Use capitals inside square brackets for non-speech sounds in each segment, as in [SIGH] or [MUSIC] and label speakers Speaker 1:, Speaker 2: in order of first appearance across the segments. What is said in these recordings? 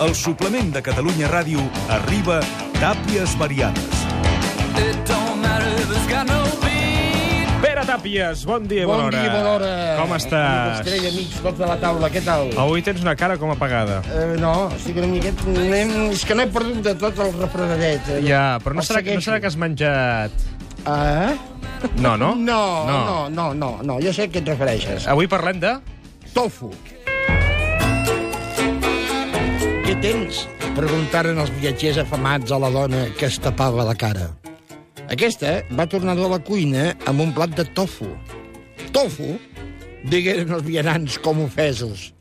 Speaker 1: El suplement de Catalunya Ràdio arriba d'àpies variades.
Speaker 2: It don't matter if it's got no beat.
Speaker 3: Pere Tàpies, bon dia,
Speaker 4: Bon
Speaker 3: bona hora.
Speaker 4: dia, bona hora.
Speaker 3: Com estàs?
Speaker 4: Estrella, amics, tots de la taula, què tal?
Speaker 3: Avui tens una cara com apagada.
Speaker 4: Eh, no, estic una miqueta... anem- És que n'he perdut de tot el refredadet. Eh?
Speaker 3: Ja, però no
Speaker 4: El
Speaker 3: serà, que, no
Speaker 4: segueixo.
Speaker 3: serà que has menjat...
Speaker 4: Ah?
Speaker 3: No, no?
Speaker 4: No, no, no, no, no, no, jo sé a què et refereixes.
Speaker 3: Avui parlem de...
Speaker 4: Tofu. Què tens? Preguntaren els viatgers afamats a la dona que es tapava la cara. Aquesta va tornar a la cuina amb un plat de tofu. Tofu? Digueren els vianants com ofesos.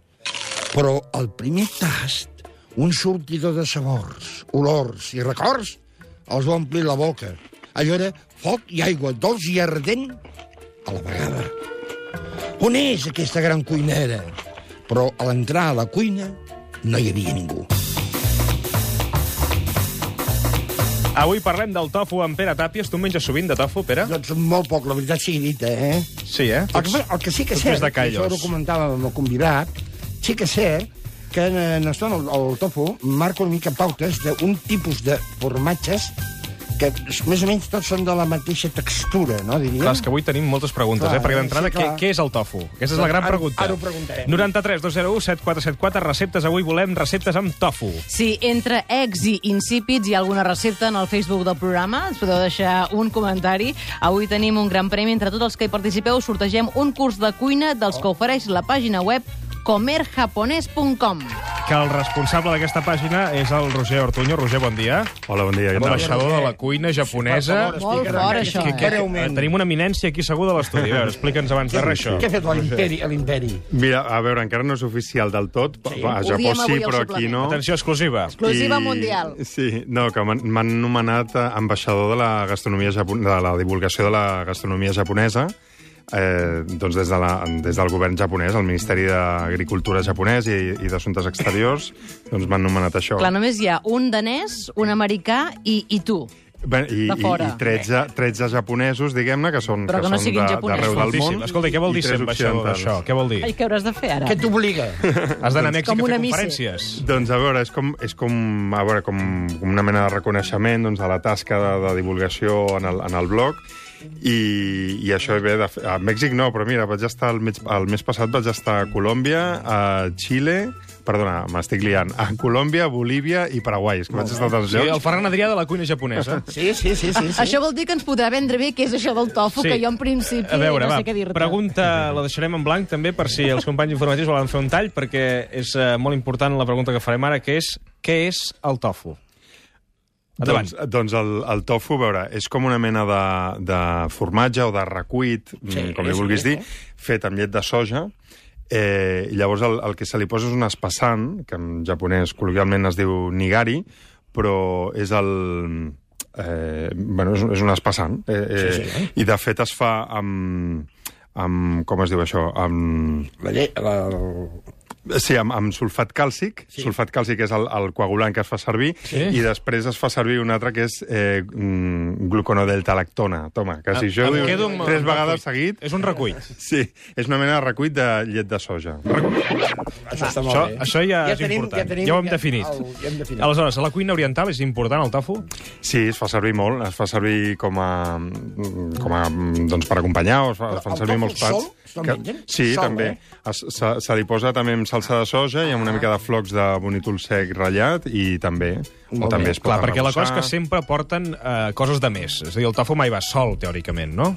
Speaker 4: Però al primer tast, un sortidor de sabors, olors i records els va omplir la boca. Allò era foc i aigua, dolç i ardent a la vegada. On és aquesta gran cuinera? Però a l'entrar a la cuina no hi havia ningú.
Speaker 3: Avui parlem del tofu amb Pere Tàpies. Tu menges sovint de tofu, Pere?
Speaker 4: Doncs molt poc, la veritat sigui dita, eh?
Speaker 3: Sí, eh?
Speaker 4: El que, el que sí que és
Speaker 3: tots més
Speaker 4: cert,
Speaker 3: de
Speaker 4: i això
Speaker 3: callos.
Speaker 4: ho comentàvem amb el convidat, sí que és cert que en, en estona el, el tofu marca una mica pautes d'un tipus de formatges que més o menys tots són de la mateixa textura, no, diríem?
Speaker 3: Clar, és que avui tenim moltes preguntes,
Speaker 4: Clar,
Speaker 3: eh? Perquè d'entrada,
Speaker 4: sí,
Speaker 3: què,
Speaker 4: clar.
Speaker 3: què és el tofu? Aquesta és la gran
Speaker 4: Ara-
Speaker 3: pregunta.
Speaker 4: ara ho preguntarem.
Speaker 3: 93 201 7474, receptes. Avui volem receptes amb tofu.
Speaker 5: Si entre ex i insípids hi ha alguna recepta en el Facebook del programa, ens podeu deixar un comentari. Avui tenim un gran premi. Entre tots els que hi participeu, sortegem un curs de cuina dels que ofereix la pàgina web comerjaponès.com.
Speaker 3: Que el responsable d'aquesta pàgina és el Roger Ortuño. Roger, bon dia.
Speaker 6: Hola, bon dia. Què tal?
Speaker 3: Ambaixador de la cuina japonesa.
Speaker 4: Per
Speaker 5: Molt
Speaker 4: explica'ns què-
Speaker 5: fort, això,
Speaker 4: què-
Speaker 5: eh?
Speaker 4: què-
Speaker 3: Eh,
Speaker 4: Breument.
Speaker 3: Tenim una eminència aquí segur de l'estudi. A veure, explica'ns abans de res,
Speaker 4: Què ha
Speaker 3: això.
Speaker 4: fet l'imperi? a l'imperi?
Speaker 6: Mira, a veure, encara no és oficial del tot. Sí. A
Speaker 5: Ho
Speaker 6: Japó
Speaker 5: diem
Speaker 6: sí,
Speaker 5: avui al
Speaker 6: però aquí
Speaker 5: suplement.
Speaker 6: no.
Speaker 3: Atenció exclusiva.
Speaker 5: Exclusiva
Speaker 6: I-
Speaker 5: mundial.
Speaker 6: Sí, no, que m'han m'han nomenat eh, ambaixador de la gastronomia japon... de la divulgació de la gastronomia japonesa. Eh, doncs des, de la, des del govern japonès, el Ministeri d'Agricultura japonès i, i d'Assumptes Exteriors, doncs m'han nomenat això.
Speaker 5: Clar, només hi ha un danès, un americà i, i tu.
Speaker 6: Bé, I,
Speaker 5: de
Speaker 6: i,
Speaker 5: fora.
Speaker 6: i 13, 13 japonesos, diguem-ne, que són,
Speaker 5: Però que no
Speaker 6: són
Speaker 5: siguin
Speaker 6: de-
Speaker 5: japonesos.
Speaker 6: d'arreu del
Speaker 3: Escoltíssim.
Speaker 6: món.
Speaker 3: Escolta, què vol dir
Speaker 6: i
Speaker 3: ser
Speaker 6: tres
Speaker 3: ambaixador
Speaker 6: occidentals.
Speaker 3: d'això? Què vol dir?
Speaker 5: Ai, què hauràs de fer ara?
Speaker 4: Què t'obliga?
Speaker 3: Has d'anar a Mèxic
Speaker 5: com
Speaker 3: a fer
Speaker 5: una missi.
Speaker 3: conferències.
Speaker 6: Doncs a veure, és com, és com, a veure, com, com una mena de reconeixement doncs, a la tasca de, de divulgació en el, en el blog i, i això ve de, fe- a Mèxic no, però mira, vaig estar el mes, el mes passat vaig estar a Colòmbia, a Xile, perdona, m'estic liant, a Colòmbia, Bolívia i Paraguai, és que vaig estar a tants
Speaker 3: Sí, el
Speaker 6: llocs.
Speaker 3: Ferran Adrià de la cuina
Speaker 6: [LAUGHS]
Speaker 3: japonesa.
Speaker 4: Sí, sí, sí, sí. sí.
Speaker 5: Això vol dir que ens podrà vendre bé què és això del tofu, que jo en principi
Speaker 3: a veure,
Speaker 5: no
Speaker 3: va,
Speaker 5: sé què dir-te.
Speaker 3: pregunta la deixarem en blanc també per si els companys informatius volen fer un tall perquè és eh, molt important la pregunta que farem ara que és què és el tofu? Endavant.
Speaker 6: Doncs, doncs el, el tofu, a veure, és com una mena de, de formatge o de recuit, sí, com li vulguis sí, dir, fet amb llet de soja. Eh, i llavors el, el que se li posa és un espessant, que en japonès col·loquialment es diu nigari, però és el... Eh, bueno, és, un- és un espessant. Eh, eh, sí, sí, eh? I de fet es fa amb, amb... Com es diu això? Amb...
Speaker 4: La llei... La...
Speaker 6: Sí, amb, amb sulfat càlcic. Sí. Sulfat càlcic és el, el coagulant que es fa servir. Sí. I després es fa servir un altre que és eh, mm, gluconodeltalactona. Toma, que si jo
Speaker 3: Em
Speaker 6: ho diu
Speaker 3: quedo amb-
Speaker 6: tres
Speaker 3: amb recull.
Speaker 6: vegades
Speaker 3: Eh.
Speaker 6: seguit...
Speaker 3: És un recull.
Speaker 6: Sí, és una mena de recuit de llet de soja.
Speaker 4: Això està molt
Speaker 3: Això,
Speaker 4: bé.
Speaker 3: això ja, és
Speaker 4: tenim-
Speaker 3: important.
Speaker 4: tenim-
Speaker 3: ja ho hem
Speaker 4: ja-
Speaker 3: definit.
Speaker 4: el- ja hem definit.
Speaker 3: Aleshores, a la cuina oriental és important el tofu?
Speaker 6: Sí, es fa servir molt. Es fa servir com a... mm, Com a mm, doncs, per acompanyar, o es, fa, es fan
Speaker 4: el
Speaker 6: servir
Speaker 4: tofu
Speaker 6: molts plats.
Speaker 4: sol? Se'l mengen?
Speaker 6: sí,
Speaker 4: Sol,
Speaker 6: també.
Speaker 4: eh?
Speaker 6: Es, se, se li posa també amb salsa de soja i amb una mica de flocs de bonítol sec ratllat i també... O
Speaker 4: Molt
Speaker 6: també
Speaker 4: bé.
Speaker 6: es pot
Speaker 3: Clar, perquè la cosa és que
Speaker 6: arrebossar.
Speaker 3: sempre porten eh, coses de més. És a dir, el tofu mai va sol, teòricament, no?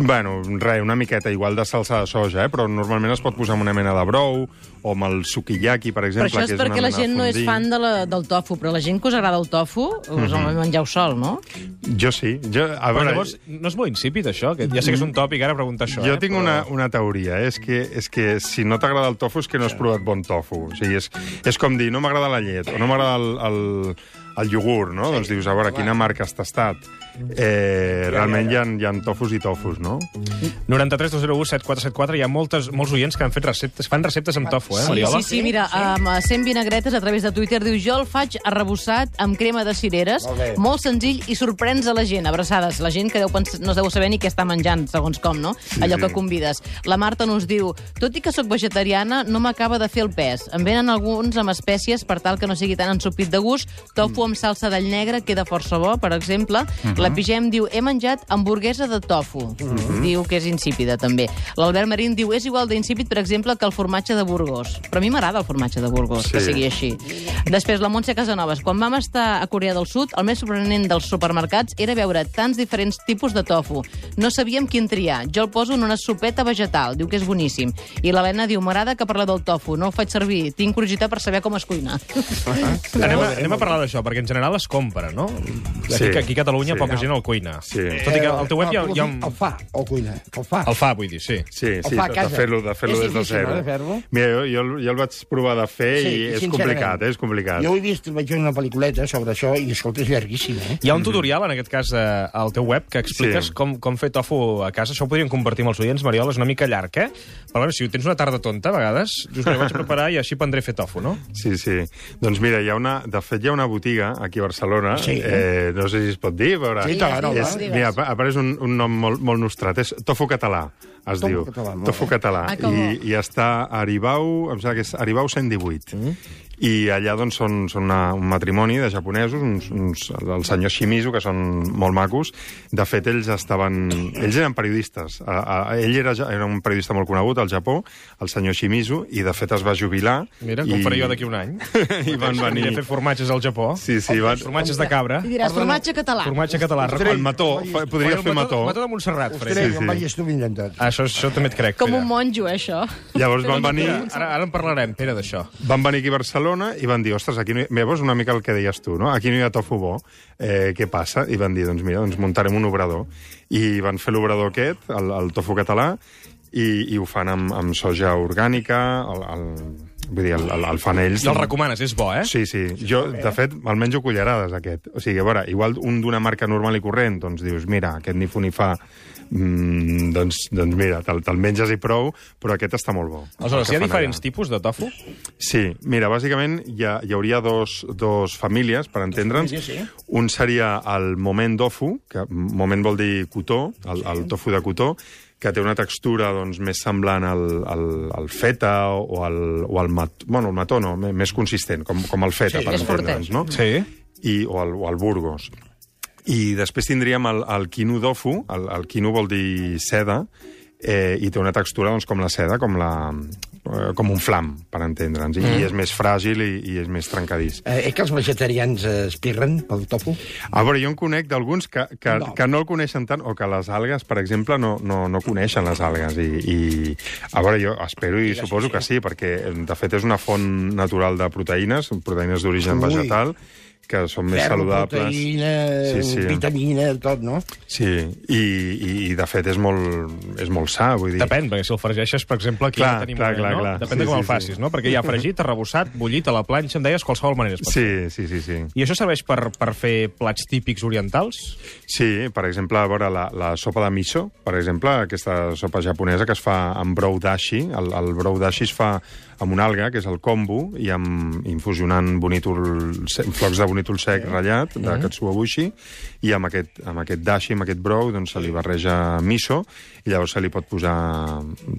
Speaker 6: Bueno, res, una miqueta igual de salsa de soja, eh? però normalment es pot posar amb una mena de brou o amb el sukiyaki, per
Speaker 5: Però
Speaker 6: exemple.
Speaker 5: això és
Speaker 6: que és
Speaker 5: perquè
Speaker 6: una
Speaker 5: la
Speaker 6: mena
Speaker 5: gent no és
Speaker 6: fondue.
Speaker 5: fan de la, del tofu, però la gent que us agrada el tofu, us mm -hmm. mengeu sol, no?
Speaker 6: Jo sí. Jo, a
Speaker 3: Però
Speaker 6: veure,
Speaker 3: llavors, no és molt insípid, això? Que ja sé que és un tòpic ara preguntar això.
Speaker 6: jo
Speaker 3: eh?
Speaker 6: tinc
Speaker 3: però-
Speaker 6: una, una teoria, eh? és, que, és que si no t'agrada el tofu és que no has provat bon tofu. O sigui, és, és com dir, no m'agrada la llet, o no m'agrada el, el, el iogurt, no? Sí, doncs dius, a veure, quina marca has tastat? Eh, realment hi ha, hi ha tofus i tofus, no?
Speaker 3: 93 201 7474, hi ha moltes, molts oients que han fet receptes, fan receptes amb tofu, eh,
Speaker 5: Sí,
Speaker 3: Mariola?
Speaker 5: sí, sí, mira, amb 100 vinagretes a través de Twitter diu jo el faig arrebossat amb crema de cireres,
Speaker 4: Molt bé.
Speaker 5: molt, senzill i sorprens a la gent, abraçades. La gent que deu pens- no es deu saber ni què està menjant, segons com, no? Sí, Allò
Speaker 6: sí.
Speaker 5: que convides. La Marta nos diu, tot i que sóc vegetariana, no m'acaba de fer el pes. Em venen alguns amb espècies per tal que no sigui tan ensopit de gust. Tofu amb salsa d'all negre queda força bo, per exemple. La Pigem diu, he menjat hamburguesa de tofu. Diu que és insípida, també. L'Albert Marín diu, és igual d'insípid, per exemple, que el formatge de Burgos. Però a mi m'agrada el formatge de Burgos, sí. que
Speaker 6: Sí.
Speaker 5: sigui així. Després, la Montse Casanovas. Quan vam estar a Corea del Sud, el més sorprenent dels supermercats era veure tants diferents tipus de tofu. No sabíem quin triar. Jo el poso en una sopeta vegetal. Diu que és boníssim. I l'Helena diu, m'agrada que parla del tofu. No el faig servir. Tinc curiositat per saber com es cuina.
Speaker 3: Anem a, anem a parlar d'això, perquè en general es compra, no?
Speaker 6: Sí.
Speaker 3: Aquí, aquí a Catalunya
Speaker 6: Sí.
Speaker 3: poca gent el cuina.
Speaker 6: Sí.
Speaker 3: Tot i que al teu web hi ha, hi ha un...
Speaker 4: El fa, o cuina. El fa.
Speaker 3: El fa, vull dir, sí.
Speaker 6: Sí, sí,
Speaker 4: fa a
Speaker 6: de
Speaker 4: casa.
Speaker 6: fer-lo de fer
Speaker 4: És
Speaker 6: des de
Speaker 4: difícil,
Speaker 6: zero.
Speaker 4: eh, de fer-lo?
Speaker 6: Mira, jo, jo, el- jo el vaig provar de fer sí, i és
Speaker 4: sincerament.
Speaker 6: complicat, eh, és complicat.
Speaker 4: Jo ho he vist, vaig veure una pel·lículeta sobre això i, escolta, és llarguíssim, eh?
Speaker 3: Hi ha un tutorial, en aquest cas, eh, al teu web, que expliques
Speaker 6: Mhm. Sí.
Speaker 3: com, com fer tofu a casa. Això ho podríem compartir amb els oients, Mariola, és una mica llarg, eh? Però bueno, si ho tens una tarda tonta, a vegades, dius, mira, vaig a preparar i així prendré a fer tofu, no?
Speaker 6: Sí, sí. Doncs mira, hi ha una, de fet hi ha una botiga aquí a Barcelona,
Speaker 4: Sí.
Speaker 6: eh, no sé si es pot dir, però...
Speaker 4: Sí, i tant, home.
Speaker 6: és, mira, apa- apareix un, un nom molt, molt nostrat, és Tofu Català, es
Speaker 4: Tofu
Speaker 6: diu.
Speaker 4: Català, molt
Speaker 6: tofu
Speaker 4: bé.
Speaker 6: Català.
Speaker 5: Ah, que bo.
Speaker 6: I, I està a Aribau, em sembla que és Aribau 118. Mm. I allà doncs, són, són una, un matrimoni de japonesos, uns, uns, el senyor Shimizu, que són molt macos. De fet, ells estaven... Ells eren periodistes. A, a, ell era, ja- era un periodista molt conegut al Japó, el senyor Shimizu, i de fet es va jubilar.
Speaker 3: Mira, com
Speaker 6: i...
Speaker 3: faré jo d'aquí un any.
Speaker 6: I van venir...
Speaker 3: a fer Oh, formatges al Japó.
Speaker 6: Sí, sí, van...
Speaker 3: Formatges de cabra.
Speaker 5: I diràs, formatge català.
Speaker 3: Formatge català.
Speaker 6: El mató, fa- podria
Speaker 3: Faré el
Speaker 6: fer mató.
Speaker 3: Mató de Montserrat, per
Speaker 4: Ostres,
Speaker 3: exemple.
Speaker 4: sí, sí. em vaig estar tot.
Speaker 3: Això, això també et crec,
Speaker 5: Com
Speaker 3: Pere.
Speaker 5: un monjo, eh, això.
Speaker 6: Llavors van venir,
Speaker 3: Ara, ara en parlarem, Pere, d'això.
Speaker 6: van venir aquí a Barcelona i van dir, ostres, aquí no hi... Llavors, una mica el que deies tu, no? Aquí no hi ha tofu bo, eh, què passa? I van dir, doncs mira, doncs muntarem un obrador. I van fer l'obrador aquest, el, el tofu català, i, i ho fan amb, amb soja orgànica, el, el, vull dir, el, el, el fan ells.
Speaker 3: I el recomanes, és bo, eh?
Speaker 6: Sí, sí. Jo, de fet, el menjo cullerades, aquest. O sigui, a veure, igual un d'una marca normal i corrent, doncs dius, mira, aquest ni fu ni fa, mm, doncs, doncs mira, te'l te menges i prou, però aquest està molt bo.
Speaker 3: Aleshores,
Speaker 6: El
Speaker 3: hi
Speaker 6: que
Speaker 3: ha
Speaker 6: fan
Speaker 3: diferents
Speaker 6: allà.
Speaker 3: tipus de tofu?
Speaker 6: Sí, mira, bàsicament hi, ha, hi hauria dos, dos famílies, per entendre'ns.
Speaker 4: famílies, sí.
Speaker 6: Un seria el moment dofu, que moment vol dir cotó, el, el tofu de cotó, que té una textura doncs, més semblant al, al, al feta o al, o al mat, bueno, el mató, no, me- més consistent, com, com el feta,
Speaker 4: Sí,
Speaker 6: per
Speaker 5: més fortet.
Speaker 6: entendre'ns, no?
Speaker 3: Sí.
Speaker 6: I, o, el, o el Burgos. I després tindríem el, el quinu dofu, el, el quinu vol dir seda, eh, i té una textura doncs, com la seda, com, la, eh, com un flam, per entendre'ns, I, mm. i és més fràgil i, i és més trencadís.
Speaker 4: Eh, eh, que els vegetarians eh, es pirren pel tofu?
Speaker 6: A veure, jo en conec d'alguns que, que,
Speaker 4: No.
Speaker 6: no. que no el coneixen tant, o que les algues, per exemple, no, no, no coneixen les algues. I, I, a veure, jo espero i suposo que sí, eh? perquè de fet és una font natural de proteïnes, proteïnes d'origen
Speaker 4: Ui.
Speaker 6: vegetal, que són més saludables.
Speaker 4: proteïna, vitamina, tot, no?
Speaker 6: Sí, i, i, i de fet és molt, és molt sa, vull dir...
Speaker 3: Depèn, perquè si el fregeixes, per exemple, aquí
Speaker 6: Clar,
Speaker 3: ja tenim
Speaker 6: clar,
Speaker 3: un,
Speaker 6: clar,
Speaker 3: no?
Speaker 6: clar.
Speaker 3: Depèn
Speaker 6: Sí,
Speaker 3: de com
Speaker 6: sí,
Speaker 3: el facis,
Speaker 6: sí.
Speaker 3: no? Perquè hi ha fregit, arrebossat, bullit a la planxa, em deies, qualsevol manera es pot fer.
Speaker 6: Sí, sí, sí, sí.
Speaker 3: I això serveix per, per fer plats típics orientals?
Speaker 6: Sí, per exemple, a veure, la, la sopa de miso, per exemple, aquesta sopa japonesa que es fa amb brou dashi. El, el brou dashi es fa amb una alga, que és el kombu, i amb infusionant bonítol, se- flocs de bonítol sec ratllat, de katsuo bushi, i amb aquest, amb aquest dashi, amb aquest brou, doncs se li barreja miso, i llavors se li pot posar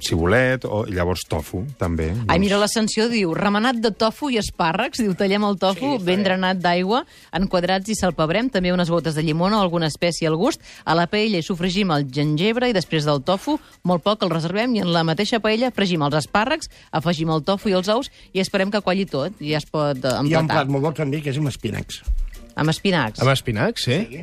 Speaker 6: cibulet, o i llavors tofu, també.
Speaker 5: Ai,
Speaker 6: doncs.
Speaker 5: mira, l'ascensió diu remenat de tofu i espàrrecs, diu tallem el tofu sí, ben drenat d'aigua, en quadrats i salpebrem, també unes gotes de llimona o alguna espècie al gust, a la paella hi sofregim el gengebre i després del tofu, molt poc el reservem i en la mateixa paella fregim els espàrrecs, afegim el tofu i els ous i esperem que qualli tot i ja es pot eh,
Speaker 4: Hi ha un
Speaker 5: emplatar.
Speaker 4: plat molt bo també, que és amb espinacs.
Speaker 5: Amb espinacs.
Speaker 3: Amb espinacs, sí? sí.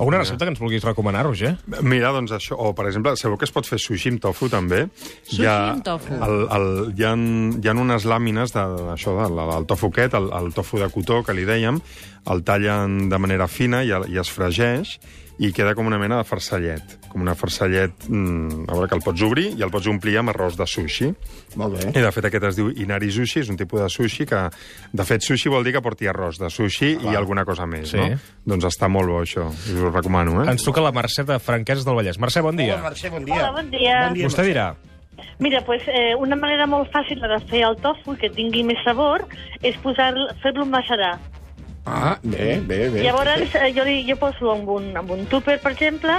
Speaker 3: Alguna recepta que ens vulguis eh? recomanar, Roger?
Speaker 6: Mira, doncs això, o per exemple, sabeu que es pot fer sushi amb tofu també?
Speaker 5: Sushi amb tofu.
Speaker 6: El, el, hi, ha, hi ha unes làmines de, això, de, la- del tofu aquest, el, el tofu de cotó que li dèiem, el tallen de manera fina i, el, i es fregeix, i queda com una mena de farcellet. Com una farcellet, mm, a veure, que el pots obrir i el pots omplir amb arròs de sushi.
Speaker 4: Molt bé.
Speaker 6: I de fet aquest es diu Inari Sushi, és un tipus de sushi que... De fet, sushi vol dir que porti arròs de sushi ah, i alguna cosa més,
Speaker 3: Sí.
Speaker 6: no? Doncs està molt bo, això. Us ho recomano, eh?
Speaker 3: Ens truca la Mercè de Franqueses del Vallès. Mercè, bon dia.
Speaker 4: Hola, Mercè, bon dia.
Speaker 7: Hola, bon dia.
Speaker 4: Bon dia
Speaker 3: Vostè
Speaker 4: Mercè.
Speaker 3: dirà,
Speaker 7: Mira, pues, eh, una manera molt fàcil de fer el tofu i que tingui més sabor és posar fer-lo macerar.
Speaker 4: Ah, bé, bé, bé.
Speaker 7: Llavors, eh, jo, li, jo poso amb un, amb un tupper, per exemple,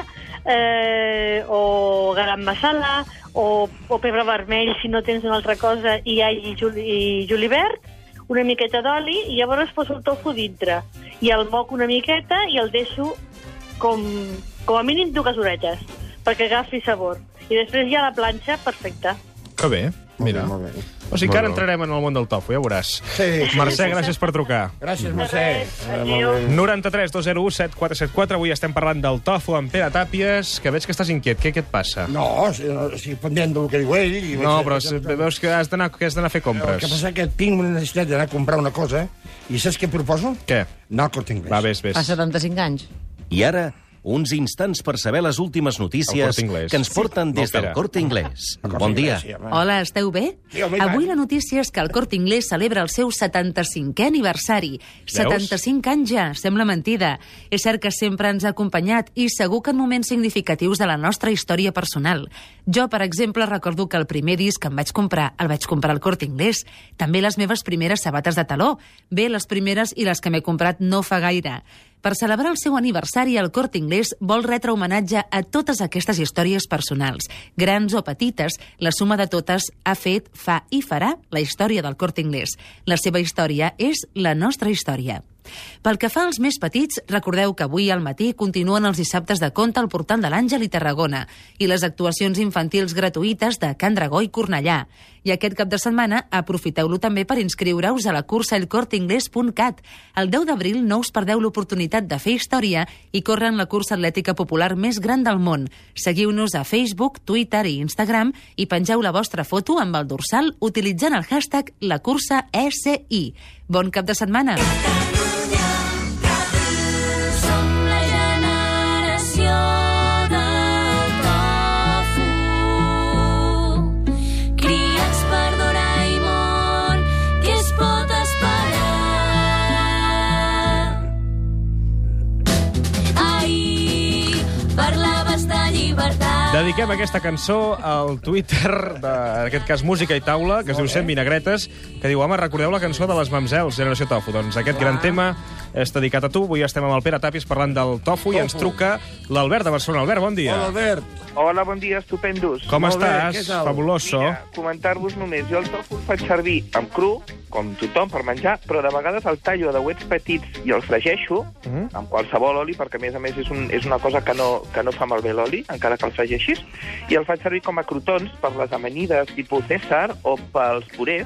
Speaker 7: eh, o garam masala, o, o pebre vermell, si no tens una altra cosa, i all i, juli, i julivert, una miqueta d'oli, i llavors poso el tofu dintre. I el moc una miqueta i el deixo com, com a mínim dues horetes, perquè agafi sabor. I després ja la planxa, perfecta.
Speaker 3: que bé. Mira.
Speaker 4: Molt bé.
Speaker 3: O sigui que ara
Speaker 6: Molt bé.
Speaker 3: entrarem en el món del tofu, ja ho veuràs.
Speaker 4: Sí, sí,
Speaker 3: Mercè, gràcies per trucar.
Speaker 4: Gràcies,
Speaker 7: De
Speaker 4: Mercè.
Speaker 7: res.
Speaker 4: Eh, molt
Speaker 7: Adéu.
Speaker 4: bé.
Speaker 3: 93 201 7474. Avui estem parlant del tofu amb Pere Tàpies, que veig que estàs inquiet. Què, què et passa?
Speaker 4: No, si, si pendent del que diu ell... i
Speaker 3: No,
Speaker 4: vaig-
Speaker 3: però si- veus que has d'anar que has d'anar a fer
Speaker 4: El que
Speaker 3: compres.
Speaker 4: passa és que tinc una necessitat d'anar a comprar una cosa i saps què proposo?
Speaker 3: Què?
Speaker 4: Anar al Corte Inglés.
Speaker 3: Va, vés, vés.
Speaker 8: Fa 75 anys.
Speaker 9: I ara, uns instants per saber les últimes
Speaker 3: El
Speaker 9: notícies
Speaker 3: Corte Inglés.
Speaker 9: que ens porten des
Speaker 3: Sí. No,
Speaker 9: del
Speaker 3: espera.
Speaker 9: Corte Inglés.
Speaker 4: Al Corte
Speaker 9: Bon dia.
Speaker 4: Inglés, sí, home.
Speaker 5: Hola, esteu bé?
Speaker 4: Sí, home, i tant.
Speaker 5: Avui la notícia és que el Corte Inglés celebra el seu 75è aniversari.
Speaker 3: Veus?
Speaker 5: 75 anys ja, sembla mentida. És cert que sempre ens ha acompanyat i segur que en moments significatius de la nostra història personal. Jo, per exemple, recordo que el primer disc que em vaig comprar el vaig comprar al Corte Inglés. També les meves primeres sabates de taló. Bé, les primeres i les que m'he comprat no fa gaire. Per celebrar el seu aniversari, el Corte Inglés vol retre homenatge a totes aquestes històries personals, grans o petites. La suma de totes ha fet, fa i farà la història del Corte Inglés. La seva història és la nostra història. Pel que fa als més petits, recordeu que avui al matí continuen els dissabtes de conte al portal de l'Àngel i Tarragona i les actuacions infantils gratuïtes de Can Dragó i Cornellà. I aquest cap de setmana aprofiteu-lo també per inscriure-us a la cursa elcorteingles.cat. El 10 d'abril no us perdeu l'oportunitat de fer història i córrer en la cursa atlètica popular més gran del món. Seguiu-nos a Facebook, Twitter i Instagram i pengeu la vostra foto amb el dorsal utilitzant el hashtag la cursa ECI. Bon cap de setmana!
Speaker 3: Dediquem aquesta cançó al Twitter, de, en aquest cas Música i Taula, que es diu 100 vinagretes, que diu, home, recordeu la cançó de les mamzels, Generació Tofu. Doncs aquest gran tema és dedicat a tu. Avui estem amb el Pere Tapis parlant del tofu, i ens truca l'Albert de Barcelona. Albert, bon dia.
Speaker 4: Hola, Albert.
Speaker 10: Hola, bon dia, estupendos.
Speaker 3: Com
Speaker 4: Molt bé,
Speaker 3: estàs?
Speaker 4: què tal?
Speaker 3: Fabuloso.
Speaker 10: Mira, comentar-vos només, jo el tofu el faig servir amb cru, com tothom, per menjar, però de vegades el tallo a dauets petits i el fregeixo
Speaker 4: Mhm.
Speaker 3: Mm.
Speaker 10: amb qualsevol oli, perquè a més a més és, un, és una cosa que no, que no fa malbé l'oli, encara que el fregeixis, i el faig servir com a crotons per les amanides tipus César o pels purés,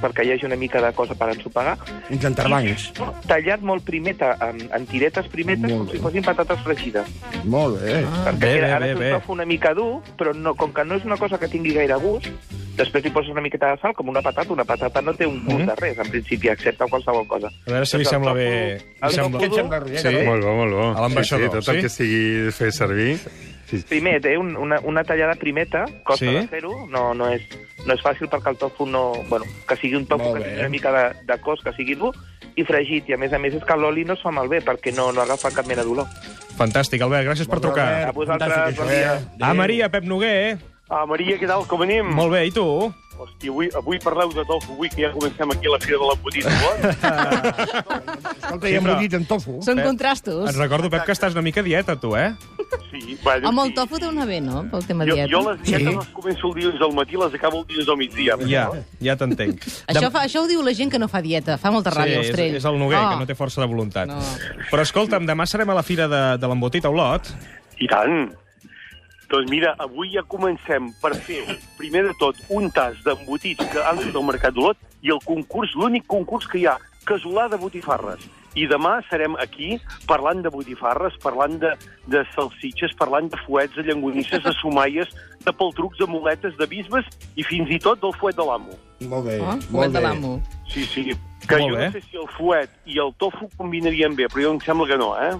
Speaker 10: perquè hi hagi una mica de cosa per ensopegar,
Speaker 4: Uns entrebancs.
Speaker 10: tallat molt primeta, en, en tiretes primetes,
Speaker 4: Molt
Speaker 10: com si
Speaker 4: bé.
Speaker 10: fossin patates fregides.
Speaker 4: Molt bé.
Speaker 10: Perquè
Speaker 3: Bé, bé,
Speaker 10: ara
Speaker 3: bé,
Speaker 10: és
Speaker 3: bé.
Speaker 10: un tofu una mica dur, però no, com que no és una cosa que tingui gaire gust, després hi poses una miqueta de sal, com una patata. Una patata no té un gust
Speaker 3: Mhm.
Speaker 10: de res, en principi, excepte qualsevol cosa.
Speaker 3: A veure si li
Speaker 10: Doncs el
Speaker 3: sembla
Speaker 10: tofu-
Speaker 3: bé...
Speaker 10: el
Speaker 3: Li sembla...
Speaker 10: tofu dur,
Speaker 3: Sí?
Speaker 6: Molt bo, molt bo.
Speaker 3: A l'ambaixador,
Speaker 6: sí, sí, tot
Speaker 3: sí?
Speaker 6: el que sigui fer servir. Sí.
Speaker 10: Primer, té un, una, una tallada primeta, costa
Speaker 3: Sí?
Speaker 10: de fer-ho, no, no, és, no és fàcil perquè el tofu no... Bueno, que sigui un tofu
Speaker 4: Molt
Speaker 10: que
Speaker 4: bé.
Speaker 10: tingui una mica de, de cos, que sigui dur, i fregit. I a més a més és que l'oli no es fa malbé, perquè no, no agafa cap mena d'olor.
Speaker 3: Fantàstic, Albert, gràcies per trucar.
Speaker 10: A vosaltres, bon dia.
Speaker 4: eh?
Speaker 3: A Maria, Pep Noguer,
Speaker 11: Ah, Maria, què tal? Com anem?
Speaker 3: molt bé, i tu?
Speaker 11: Hòstia, avui, avui parleu de tofu, avui que ja comencem aquí a la Fira de la Botín.
Speaker 4: Escolta, ja
Speaker 3: Sí, però-
Speaker 4: m'ho dit en tofu.
Speaker 8: Són
Speaker 3: Pep,
Speaker 8: contrastos.
Speaker 3: Et recordo, Pep, que estàs una mica a dieta, tu, eh?
Speaker 11: sí, bueno,
Speaker 8: Home, el
Speaker 11: sí.
Speaker 8: tofu té una bé, no?, pel tema
Speaker 11: Jo,
Speaker 8: dieta.
Speaker 11: jo les dietes
Speaker 4: Sí.
Speaker 11: les començo el dilluns al matí, les acabo el dilluns al migdia.
Speaker 3: Ja, ja
Speaker 5: [LAUGHS]
Speaker 3: t'entenc.
Speaker 8: Això,
Speaker 3: Dem-
Speaker 8: fa, això ho diu la gent que no fa dieta. Fa molta ràbia,
Speaker 3: sí,
Speaker 8: Ostrell.
Speaker 3: és, és el Noguer,
Speaker 5: Ah.
Speaker 3: oh. que no té força de voluntat.
Speaker 8: No.
Speaker 3: Però escolta'm, demà serem a la fira de, de l'embotit a Olot.
Speaker 11: I tant. Doncs mira, avui ja comencem per fer, primer de tot, un tas d'embotits que han fet al Mercat d'Olot i el concurs, l'únic concurs que hi ha, casolà de botifarres. I demà serem aquí parlant de botifarres, parlant de, de salsitxes, parlant de fuets, de llangonisses, de sumaies, de peltrucs, de muletes, de bisbes i fins i tot del fuet de l'amo.
Speaker 4: Molt bé.
Speaker 8: Oh,
Speaker 4: molt
Speaker 8: de
Speaker 4: bé.
Speaker 8: l'amo.
Speaker 11: Sí, sí, que
Speaker 3: Molt
Speaker 11: jo
Speaker 3: bé.
Speaker 11: no sé si el fuet i el tofu combinarien bé, però jo em sembla que no, eh?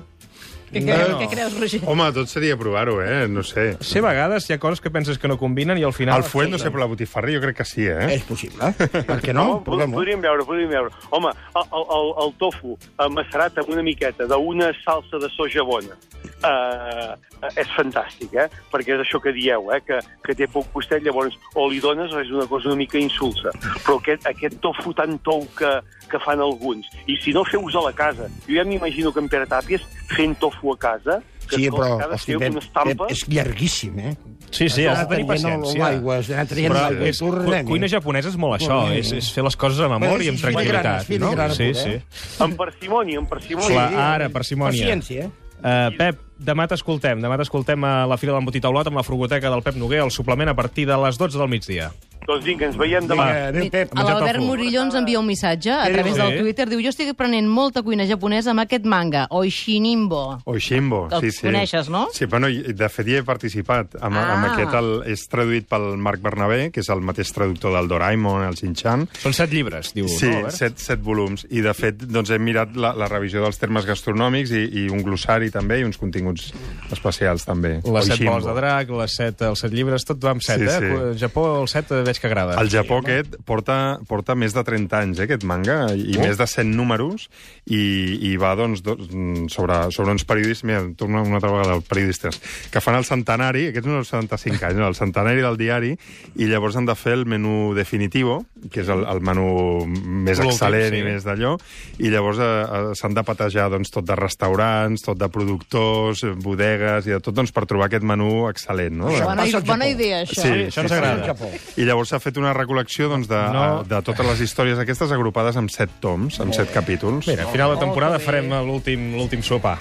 Speaker 5: Què, no. què creus, Roger?
Speaker 6: Home, tot seria provar-ho, eh? No sé.
Speaker 3: Ser vegades hi ha coses que penses que no combinen i al final...
Speaker 6: El fuet, no sé, però la botifarra jo crec que sí, eh?
Speaker 4: És possible. Per què
Speaker 11: No, podríem, podríem veure, podríem veure. Home, el, el, el, el tofu eh, macerat amb una miqueta d'una salsa de soja bona eh, és fantàstic, eh? Perquè és això que dieu, eh? Que, que té poc vostè, llavors o li dones o és una cosa una mica insulsa. Però aquest, aquest tofu tan tou que, que fan alguns. I si no, feu-vos a la casa. Jo ja m'imagino que en Pere Tàpies fent tofu a casa... que
Speaker 4: Sí,
Speaker 11: tot-
Speaker 4: però
Speaker 11: cada
Speaker 4: hosti,
Speaker 11: dia
Speaker 4: Pep,
Speaker 11: una estampa...
Speaker 4: Pep, és llarguíssim, eh?
Speaker 3: Sí, sí, has de tenir paciència.
Speaker 4: L'aigua, has d'anar traient
Speaker 3: Però
Speaker 4: l'aigua.
Speaker 3: és-
Speaker 4: Tornem.
Speaker 3: Cuina japonesa és molt això,
Speaker 4: Tornem-hi.
Speaker 3: és, és fer les coses amb amor
Speaker 4: Però
Speaker 3: i amb
Speaker 4: és filigrana,
Speaker 3: tranquil·litat.
Speaker 4: és filigrana,
Speaker 3: No? Sí,
Speaker 4: poder.
Speaker 3: sí.
Speaker 11: Amb parsimònia, amb parsimònia.
Speaker 3: Clar, ara, parsimònia.
Speaker 4: Paciència, eh?
Speaker 3: Uh, Pep, demà t'escoltem. Demà t'escoltem a la Fira de l'Embotí Taulat amb la frugoteca del Pep Noguer, el suplement a partir de les 12 del migdia.
Speaker 11: Doncs vinga, ens veiem demà.
Speaker 3: Vinga,
Speaker 4: adéu, Pep.
Speaker 3: Menjar
Speaker 5: L'Albert
Speaker 3: tofu.
Speaker 5: Murillo ens envia un missatge a través
Speaker 3: Sí.
Speaker 5: del Twitter. Diu, jo estic prenent molta cuina japonesa amb aquest manga, Oishinimbo.
Speaker 6: O Shimbo,
Speaker 5: El
Speaker 6: sí, sí.
Speaker 5: coneixes, no?
Speaker 6: Sí, bueno, i- de fet hi he participat. Amb, ah. amb
Speaker 5: Ah.
Speaker 6: aquest el, és traduït pel Marc Bernabé, que és el mateix traductor del Doraemon, el Shin-Chan.
Speaker 3: Són set llibres, diu.
Speaker 6: Sí,
Speaker 3: no, Albert?
Speaker 6: set, set volums. I, de fet, doncs, hem mirat la, la revisió dels termes gastronòmics i, i un glossari, també, i uns continguts especials, també.
Speaker 3: Les set
Speaker 6: Oishimbo.
Speaker 3: boles de drac, les set, els set llibres, tot va amb set,
Speaker 6: Sí,
Speaker 3: eh?
Speaker 6: sí.
Speaker 3: Al Japó el set eh, veig que agrada.
Speaker 6: Al Japó aquest porta, porta més de 30 anys, eh, aquest manga, i
Speaker 3: Oh.
Speaker 6: oh. més de 100 números, i, i va doncs, doncs, mm, sobre, sobre uns periodistes, mira, torno una altra vegada als periodistes, que fan el centenari, aquests no els 75 anys, no, el centenari del diari, i llavors han de fer el menú definitivo, que és el, el menú més
Speaker 3: L'últim,
Speaker 6: excel·lent
Speaker 3: sí.
Speaker 6: i més d'allò, i llavors eh, eh, s'han de patejar doncs, tot de restaurants, tot de productors, eh, bodegues i de tot, doncs, per trobar aquest menú excel·lent. No?
Speaker 4: Això
Speaker 5: Bona,
Speaker 4: passa al
Speaker 5: bona
Speaker 4: Japó.
Speaker 5: idea, això.
Speaker 6: Sí,
Speaker 3: això ens
Speaker 6: sí,
Speaker 3: agrada.
Speaker 6: sí. I llavors s'ha fet una recol·lecció doncs, de, no.
Speaker 3: No.
Speaker 6: de totes les històries aquestes agrupades amb set toms, amb set capítols.
Speaker 3: Mira, a final de temporada farem eh, l'últim l'últim sopar.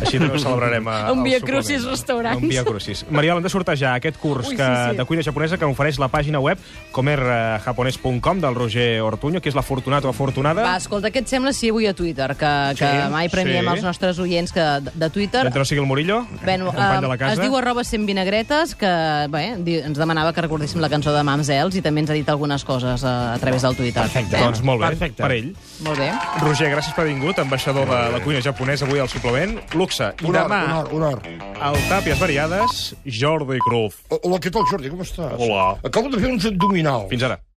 Speaker 3: Així també ho celebrarem a,
Speaker 5: [LAUGHS] Un
Speaker 3: al
Speaker 5: Via
Speaker 3: suplement.
Speaker 5: Crucis restaurants.
Speaker 3: Un via crucis. Mariola, hem de sortejar aquest curs
Speaker 5: Ui,
Speaker 3: Ui,
Speaker 5: sí,
Speaker 3: que, sí,
Speaker 5: sí.
Speaker 3: sí. de cuina japonesa que ofereix la pàgina web comerjapones.com del Roger Ortuño, que és l'afortunat o afortunada.
Speaker 5: Va, escolta, què et sembla si avui a Twitter, que, que
Speaker 3: Sí,
Speaker 5: mai premiem
Speaker 3: sí.
Speaker 5: els nostres oients que, de, de Twitter...
Speaker 3: Mentre no sigui el Murillo,
Speaker 5: Bueno,
Speaker 3: company
Speaker 5: eh,
Speaker 3: de la casa.
Speaker 5: es diu arroba 100 vinagretes, que bé, di, ens demanava que recordéssim la cançó de Mamsels i també ens ha dit algunes coses eh, a, a través del Twitter.
Speaker 4: Perfecte.
Speaker 5: Eh?
Speaker 3: Doncs molt bé,
Speaker 4: Perfecte.
Speaker 3: per ell.
Speaker 5: Molt bé.
Speaker 3: Roger, gràcies per haver vingut, ambaixador de la cuina japonesa avui al suplement. Luxe. I
Speaker 4: Un hor,
Speaker 3: demà,
Speaker 4: un hor, un hor.
Speaker 3: al Tàpies Variades, Jordi Cruz.
Speaker 4: Hola, què tal, Jordi? Com estàs?
Speaker 3: Hola.
Speaker 4: Acabo de fer uns abdominals.
Speaker 3: Fins ara.